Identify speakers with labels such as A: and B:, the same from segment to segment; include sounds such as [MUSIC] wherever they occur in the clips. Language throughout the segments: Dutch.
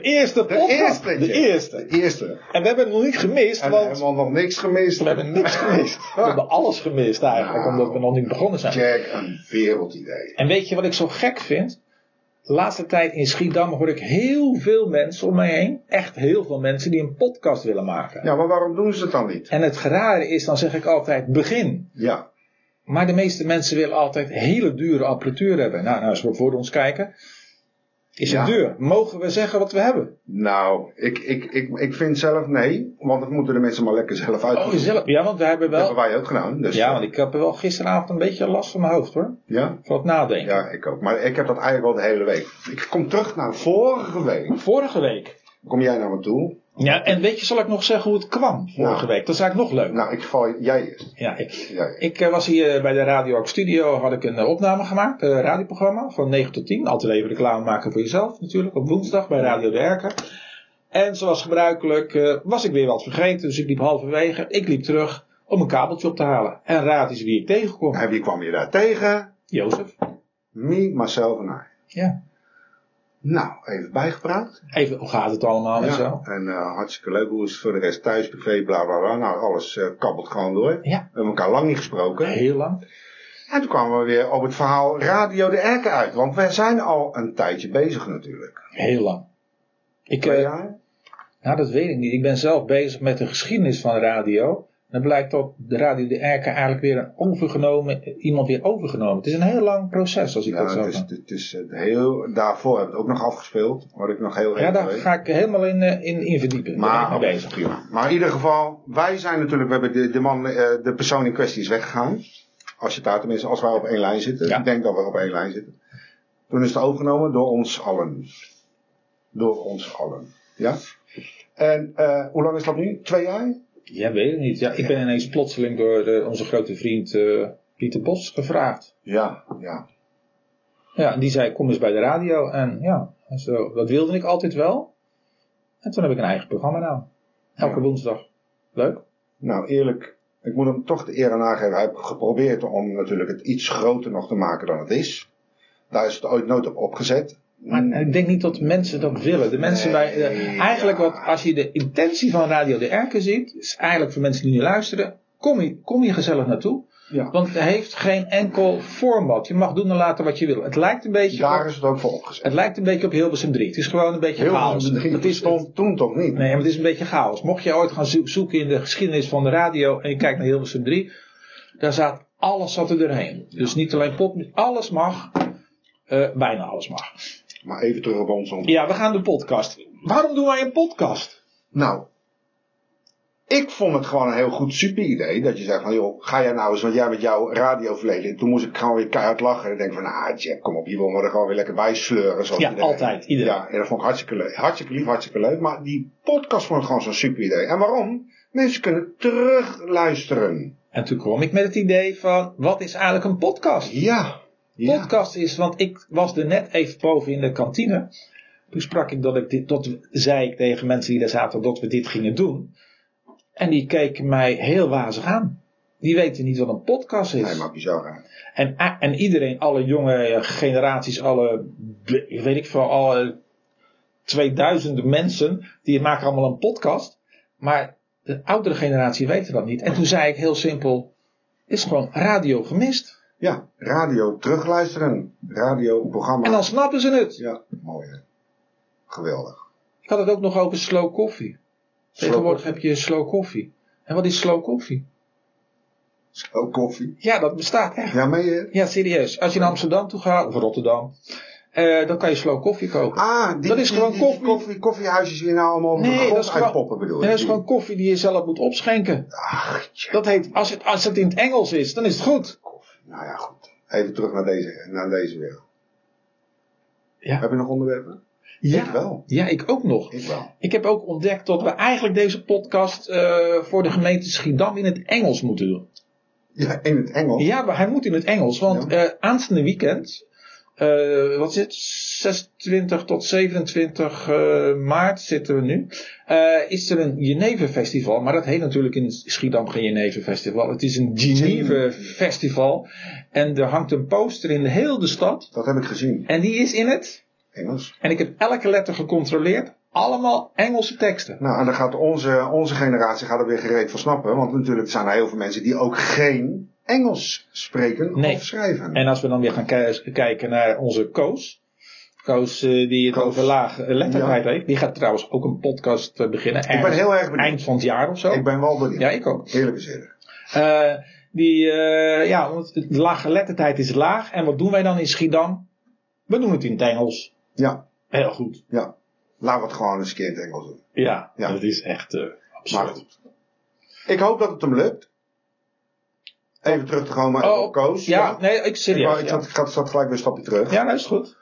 A: eerste
B: De
A: podcast.
B: eerste.
A: De eerste.
B: De eerste.
A: En we hebben het nog niet gemist,
B: En we
A: want
B: hebben nog niks gemist.
A: we
B: [LAUGHS]
A: hebben niks gemist. We hebben alles gemist eigenlijk,
B: Nou.
A: omdat we nog niet begonnen zijn.
B: Jack, een wereldidee.
A: En weet je wat ik zo gek vind? De laatste tijd in Schiedam hoor ik heel veel mensen om mij heen. Echt heel veel mensen die een podcast willen maken.
B: Ja, maar waarom doen ze het dan niet?
A: En het rare is, dan zeg ik altijd begin.
B: Ja.
A: Maar de meeste mensen willen altijd hele dure apparatuur hebben. Nou, nou als we voor ons kijken, is het
B: Ja.
A: duur. Mogen we zeggen wat we hebben?
B: Nou, ik, ik, ik, ik vind zelf nee, want dat moeten de mensen maar lekker zelf
A: Oh,
B: uitzoeken.
A: zelf. Ja, want we hebben
B: dat
A: wel...
B: hebben wij ook gedaan. Dus
A: Ja, want ik heb wel gisteravond een beetje last van mijn hoofd hoor.
B: ja,
A: Van het nadenken.
B: ja, ik ook. Maar ik heb dat eigenlijk al de hele week. Ik kom terug naar vorige week.
A: Vorige week.
B: Kom jij naar me toe?
A: Ja, en weet je, zal ik nog zeggen hoe het kwam vorige
B: Nou.
A: week? Dat is eigenlijk nog leuk.
B: Nou, ik val jij eerst.
A: Ja, ik,
B: Jij.
A: ik eh, was hier eh, bij de Radio Ook Studio, had ik een eh, opname gemaakt, een radioprogramma van 9 tot 10. Altijd even reclame maken voor jezelf natuurlijk, op woensdag bij Radio de Erker. En zoals gebruikelijk eh, was ik weer wat vergeten, dus ik liep halverwege. Ik liep terug om een kabeltje op te halen. En raad eens wie ik tegenkwam.
B: En wie kwam je daar tegen?
A: Jozef.
B: Me, myself en I.
A: Ja.
B: Nou, even bijgepraat.
A: Even, hoe gaat het allemaal en
B: Ja,
A: zo?
B: en eh, hartstikke leuk. Hoe is het voor de rest thuis, privé, bla bla bla. Nou, alles eh, kabbelt gewoon door. We
A: Ja,
B: hebben elkaar lang niet gesproken.
A: heel lang.
B: En toen kwamen we weer op het verhaal Radio de Erken uit. Want wij zijn al een tijdje bezig natuurlijk.
A: Heel lang. Ik,
B: Twee
A: eh,
B: jaar?
A: Nou, dat weet ik niet. Ik ben zelf bezig met de geschiedenis van radio. En dan blijkt dat de Radio de Erken eigenlijk weer een overgenomen, iemand weer overgenomen. Het is een heel lang proces, als ik
B: Ja,
A: dat zo
B: Nou, het is,
A: kan.
B: het is eh, heel, daarvoor heb ik het ook nog afgespeeld. Wat ik nog heel
A: Ja,
B: even
A: daar
B: weet.
A: ga ik helemaal in, eh, in, in verdiepen. daar ben
B: Maar,
A: ik mee bezig.
B: prima. maar in ieder geval, wij zijn natuurlijk, we hebben de, de, man, eh, de persoon in kwestie is weggegaan. Als je daar tenminste, als wij op één lijn zitten.
A: Ja.
B: Ik denk dat we op één lijn zitten. Toen is het overgenomen door ons allen. Door ons allen. Ja? En eh, hoe lang is dat nu? Twee jaar?
A: Ja, weet ik niet. Ja, ik ben ineens plotseling door eh, onze grote vriend eh, Pieter Bos gevraagd.
B: Ja, ja.
A: Ja, en die zei, kom eens bij de radio. En ja, en zo, dat wilde ik altijd wel. En toen heb ik een eigen programma nou. Elke
B: Ja.
A: woensdag. Leuk.
B: Nou, eerlijk, ik moet hem toch de eer aan aangeven. Hij heeft geprobeerd om natuurlijk het iets groter nog te maken dan het is. Daar is het ooit nooit op opgezet.
A: Maar ik denk niet dat mensen dat willen. De mensen bij, eh,
B: Mm. Nee,
A: eigenlijk
B: ja.
A: wat, als je de intentie van Radio de Erken ziet, is eigenlijk voor mensen die nu luisteren, kom hier, kom hier gezellig naartoe.
B: Ja.
A: Want het heeft geen enkel format. Je mag doen en laten wat je wil. Het lijkt een beetje,
B: Daar
A: op,
B: is het ook voor opgezet.
A: het lijkt een beetje op Hilversum 3. Het is gewoon een beetje
B: Heel
A: chaos.
B: veel
A: Het is, nee,
B: stond toen toch niet.
A: maar het is een beetje chaos. Mocht je ooit gaan zo- zoeken in de geschiedenis van de radio en je kijkt naar Hilversum 3, daar zat alles zat er doorheen. Dus niet alleen pop, alles mag. Eh, bijna alles mag.
B: Maar even terug op ons om.
A: Ja, we gaan de podcast. Waarom doen wij een podcast?
B: Nou, ik vond het gewoon een heel goed super idee. Dat je zegt van, joh, ga jij nou eens, want jij met jouw radioverleden. En toen moest ik gewoon weer keihard lachen. En ik denk van, ah Jack, kom op, hier wil we er gewoon weer lekker bij sleuren. Zoals
A: Ja,
B: iedereen.
A: altijd, iedereen.
B: Ja, en dat vond ik hartstikke leuk. Hartstikke lief, hartstikke leuk. Maar die podcast vond ik gewoon zo'n super idee. En waarom? Mensen kunnen terugluisteren.
A: En toen kwam ik met het idee van, wat is eigenlijk een podcast?
B: Ja. Ja.
A: Podcast is, want ik was er net even boven in de kantine. Toen sprak ik dat ik dit, dat zei ik tegen mensen die daar zaten, dat we dit gingen doen. En die keken mij heel wazig aan. Die weten niet wat een podcast is.
B: Nee, maar bizar hè.
A: En, a- en iedereen, alle jonge generaties, alle, weet ik veel, alle 2000 mensen, die maken allemaal een podcast. Maar de oudere generatie weet dat niet. En toen zei ik heel simpel, is gewoon radio gemist.
B: Ja, radio terugluisteren. Radioprogramma.
A: En dan snappen ze het.
B: Ja, mooi hè. Geweldig.
A: Ik had het ook nog over slow coffee. Tegenwoordig heb je slow coffee. En wat is slow coffee?
B: Slow koffie.
A: Ja, dat bestaat echt.
B: Ja, mee hè?
A: Ja, serieus. Als je naar Amsterdam toe gaat, of Rotterdam, eh, dan kan je slow coffee kopen.
B: Ah, die,
A: Dat is
B: die-
A: gewoon
B: die- die
A: koffie.
B: koffie. Koffiehuisjes die nou allemaal nee,
A: Nee,
B: de
A: dat
B: grond
A: is gewoon-
B: uitpoppen bedoel je?
A: En dat is
B: Die-
A: gewoon koffie die je zelf moet opschenken.
B: Ach, tja.
A: Dat heet, als het, als het in het Engels is, dan is het goed.
B: Nou ja, goed. Even terug naar deze, naar deze wereld.
A: Ja.
B: Heb je nog onderwerpen?
A: Ja,
B: Ik wel.
A: Ja, ik ook nog.
B: Ik wel.
A: Ik heb ook ontdekt dat we eigenlijk deze podcast eh, voor de gemeente Schiedam in het Engels moeten doen.
B: Ja, in het Engels.
A: Ja, maar hij moet in het Engels, want eh, aanstaande weekend, eh, wat is het, 26 tot 27 eh, maart zitten we nu, eh, is er een Geneve Festival. Maar dat heet natuurlijk in Schiedam geen Geneve Festival. Het is een Geneve Festival. En er hangt een poster in heel de stad.
B: Dat heb ik gezien.
A: En die is in het
B: Engels.
A: En ik heb elke letter gecontroleerd. allemaal Engelse teksten.
B: Nou, en dan gaat onze, onze generatie gaat er weer gereed van snappen. Want natuurlijk zijn er heel veel mensen die ook geen Engels spreken
A: Nee.
B: of schrijven.
A: En als we dan weer gaan ki- kijken naar onze Koos. Koos eh, die het
B: Koos.
A: over lage lettertijd heeft. Die gaat trouwens ook een podcast eh, beginnen.
B: ik ben
A: ergens
B: heel erg benieuwd.
A: eind van het jaar of zo.
B: Ik ben wel benieuwd.
A: Ja, ik ook.
B: Eerlijk gezegd.
A: Eh, die, eh, ja, want de laaggeletterdheid is laag. En wat doen wij dan in Schiedam? We doen het in het Engels.
B: Ja,
A: Heel goed.
B: ja. Laten we het gewoon eens een keer in het Engels doen.
A: Ja,
B: Ja.
A: dat is echt eh absurd.
B: Maar goed. Ik hoop dat het hem lukt. Even terug te komen
A: Oh,
B: op Koos.
A: ja, nee, ik
B: Ik, wou-
A: serieus.
B: ik
A: Ja,
B: zat, ik zat gelijk weer een stapje terug.
A: ja dat is goed.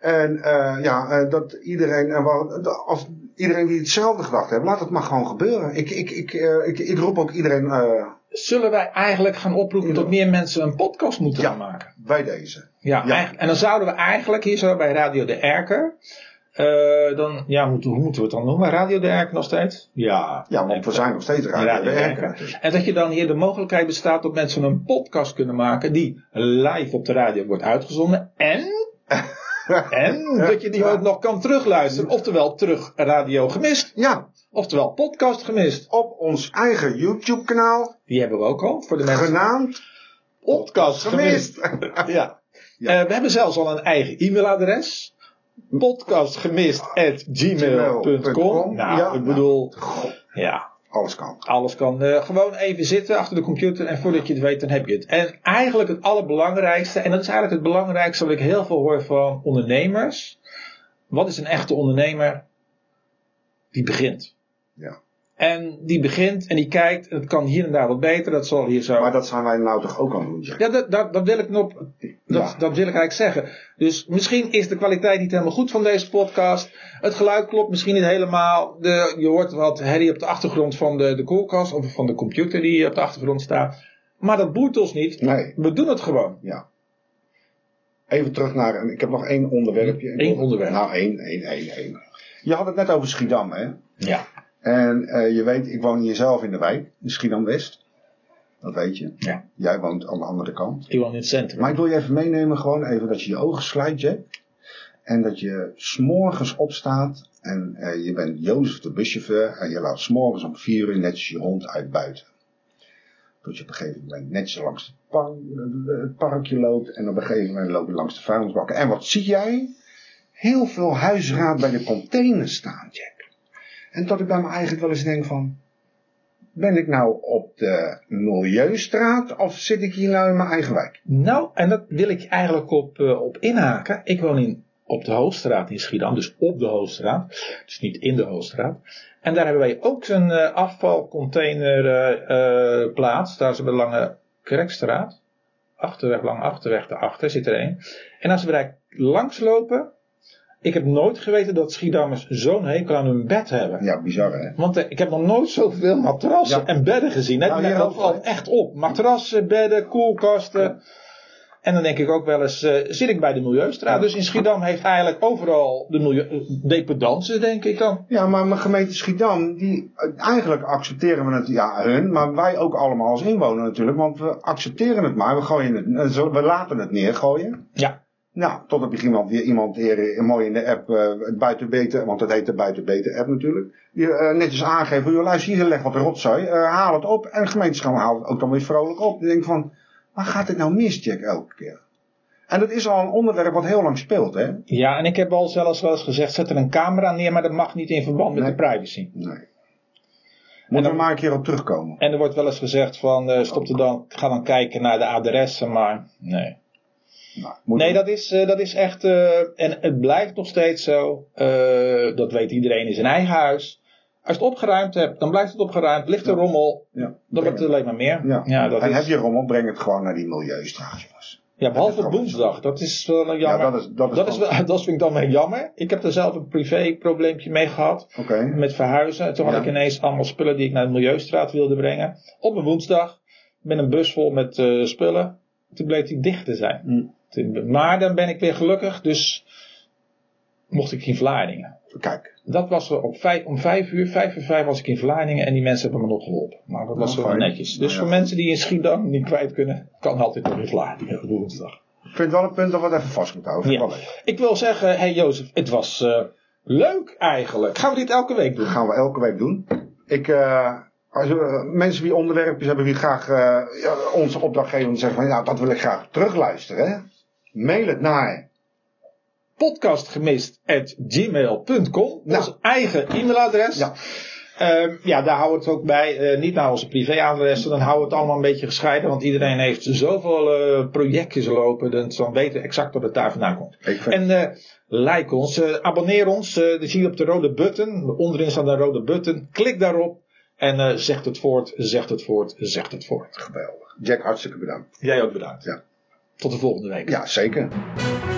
B: En eh, ja, eh, dat iedereen, en wel- dat als iedereen die hetzelfde gedacht heeft, laat het maar gewoon gebeuren. Ik, ik, ik, eh, ik, ik roep ook iedereen eh,
A: Zullen wij eigenlijk gaan oproepen dat meer mensen een podcast moeten
B: Ja.
A: gaan maken?
B: bij deze.
A: Ja,
B: Ja.
A: eigenlijk- en dan zouden we eigenlijk hier zo bij Radio de Erker. eh, dan, ja, moeten, hoe moeten we het dan doen? Bij Radio de Erker nog steeds? Ja.
B: Ja, want we zijn nog steeds raar.
A: Radio
B: we
A: Erker. En dat je dan hier de mogelijkheid bestaat dat mensen een podcast kunnen maken die live op de radio wordt uitgezonden. En,
B: [LAUGHS]
A: en dat je die ook nog kan terugluisteren. Oftewel terug radio gemist,
B: Ja,
A: oftewel podcast gemist.
B: op ons eigen YouTube kanaal,
A: Die hebben we ook al voor de mensen.
B: genaamd
A: Podcast gemist.
B: Gemist.
A: [LAUGHS] Ja.
B: Ja.
A: Eh, we hebben zelfs al een eigen e-mailadres. Podcastgemist.gmail.com.
B: Gmail.com.
A: Nou,
B: Ja,
A: ik
B: nou.
A: bedoel, ja,
B: Alles kan.
A: alles kan. Eh, gewoon even zitten achter de computer en voordat je het weet, dan heb je het. En eigenlijk het allerbelangrijkste, en dat is eigenlijk het belangrijkste wat ik heel veel hoor van ondernemers. Wat is een echte ondernemer? Die begint.
B: Ja.
A: En die begint en die kijkt, en het kan hier en daar wat beter, dat zal hier zo.
B: Maar dat zijn wij nou toch ook aan het doen, zeg.
A: Ja, dat, dat, dat wil ik nog. Dat,
B: Ja.
A: dat wil ik eigenlijk zeggen. Dus misschien is de kwaliteit niet helemaal goed van deze podcast. Het geluid klopt misschien niet helemaal. De, je hoort wat herrie op de achtergrond van de, de koelkast of van de computer die op de achtergrond staat. Maar dat boeit ons niet.
B: Nee,
A: We doen het gewoon.
B: ja. Even terug naar, en ik heb nog één onderwerpje.
A: Eén onderwerp.
B: Nou, één, één, één, één. Je had het net over Schiedam, hè?
A: Ja,
B: En eh, je weet, ik woon hier zelf in de wijk, in Schiedam-West. Dat weet je.
A: Ja.
B: Jij woont aan de andere kant.
A: iemand in het centrum.
B: Maar ik wil je even meenemen, gewoon even dat je je ogen sluit, Jack. En dat je s'morgens opstaat en eh, je bent Jozef de buschauffeur en je laat s'morgens om vier uur netjes je hond uit buiten. Tot je op een gegeven moment netjes langs het, par- het parkje loopt en op een gegeven moment loop je langs de vuilnisbakken. En wat zie jij? Heel veel huisraad bij de containers staan, Jack. En dat ik bij me eigenlijk wel eens denk van, ben ik nou op de Milieustraat of zit ik hier nou in mijn eigen wijk?
A: Nou, en dat wil ik eigenlijk op, eh, op inhaken. Ik woon in, op de Hoofdstraat in Schiedam, dus op de Hoofdstraat. Dus niet in de Hoofdstraat. En daar hebben wij ook eh, een afvalcontainerplaats. eh, daar is op de Lange Kerkstraat. Achterweg, lange achterweg, daarachter zit er een. En als we daar langs lopen. Ik heb nooit geweten dat Schiedammers zo'n hekel aan hun bed hebben.
B: Ja, bizar hè?
A: Want eh, ik heb nog nooit zoveel matrassen
B: Ja.
A: en bedden gezien. Hè?
B: Nou,
A: Die
B: hier
A: net
B: ook,
A: al
B: hè.
A: echt op. Matrassen, bedden, koelkasten. En dan denk ik ook wel eens, eh, zit ik bij de Milieustraat?
B: Ja.
A: Dus in Schiedam heeft eigenlijk overal de milieu eh, dependances, denk ik dan.
B: Ja, maar mijn gemeente Schiedam, die, eigenlijk accepteren we het, ja, hun, maar wij ook allemaal als inwoner natuurlijk, want we accepteren het maar, we gooien het, eh, zo- we laten het neergooien.
A: Ja.
B: Nou, totdat ik iemand, weer iemand hier, mooi in de app, eh buiten beter, want dat heet de buiten beter app natuurlijk, die eh, netjes aangeven, joh, luister, hier leg wat rotzooi, eh, haal het op, en de gemeenschap haalt het ook dan weer vrolijk op. Dan denk ik van, waar gaat dit nou mis, Jack, elke keer? En dat is al een onderwerp wat heel lang speelt, hè?
A: Ja, en ik heb al zelfs wel eens gezegd, zet er een camera neer, maar dat mag niet in verband met
B: Nee.
A: de privacy.
B: Nee.
A: En
B: Moeten
A: dan-
B: we maar een keer op terugkomen.
A: En er wordt wel eens gezegd van, eh, stop er dan, ga dan kijken naar de adressen, maar nee.
B: Nou, moeten
A: Nee,
B: we-
A: dat is, eh, dat is echt. eh, en het blijft nog steeds zo. eh, dat weet iedereen in zijn eigen huis. Als je het opgeruimd hebt, dan blijft het opgeruimd. Ligt de
B: Ja.
A: rommel,
B: Ja,
A: dan wordt het alleen maar meer.
B: ja.
A: dat
B: en
A: is,
B: heb je rommel, breng het gewoon naar die milieustraat, jongens.
A: ja behalve
B: heb je rommel.
A: woensdag. Dat is wel een jammer.
B: Ja, dat is... Dat is,
A: dat, is
B: wel-
A: wel, [LAUGHS] dat vind ik dan weer jammer. Ik heb er zelf een privé probleempje mee gehad.
B: Oké.
A: Met verhuizen. Toen had
B: Ja.
A: ik ineens allemaal spullen die ik naar de Milieustraat wilde brengen. Op een woensdag. Met een bus vol met eh, spullen. Toen bleek die dicht te zijn.
B: Mm.
A: Toen- Maar dan ben ik weer gelukkig. Dus mocht ik in Vlaardingen.
B: Kijk,
A: Dat was er op vijf, om vijf uur. Vijf uur vijf was ik in Vlaardingen. En die mensen hebben me nog geholpen. Maar dat was
B: Nou,
A: wel
B: fijn.
A: netjes. Dus
B: Nou, ja.
A: voor mensen die in Schiedam niet kwijt kunnen. Kan altijd nog in Vlaardingen op woensdag.
B: ik vind wel een punt dat we het even vast moeten houden. Vind ik
A: Ja.
B: wel leuk.
A: Ik wil zeggen. Hé hey Jozef. Het was eh, Leuk eigenlijk. Gaan we dit elke week doen?
B: Dat gaan we elke week doen. Ik, eh, als we- mensen die onderwerpjes hebben, die graag eh, ja, onze opdrachtgever zeggen van, nou, dat wil ik graag terugluisteren. Hè? Mail het naar.
A: Podcastgemist.gmail.com. Ons eigen e-mailadres.
B: Ja.
A: Ehm, ja, daar houden we het ook bij. Eh, niet naar onze privéadressen. Dan houden we het allemaal een beetje gescheiden. Want iedereen heeft zoveel eh, projectjes lopen. Dus dan weten we exact wat het daar vandaan komt.
B: Ik vind-
A: En eh, like ons, eh, abonneer ons. eh dan zie je op de rode button. Onderin staat een rode button. Klik daarop. En eh zegt het voort, zegt het voort, zegt het voort.
B: Geweldig. Jack, hartstikke bedankt.
A: Jij ook bedankt.
B: Ja.
A: Tot de volgende week.
B: Ja, zeker.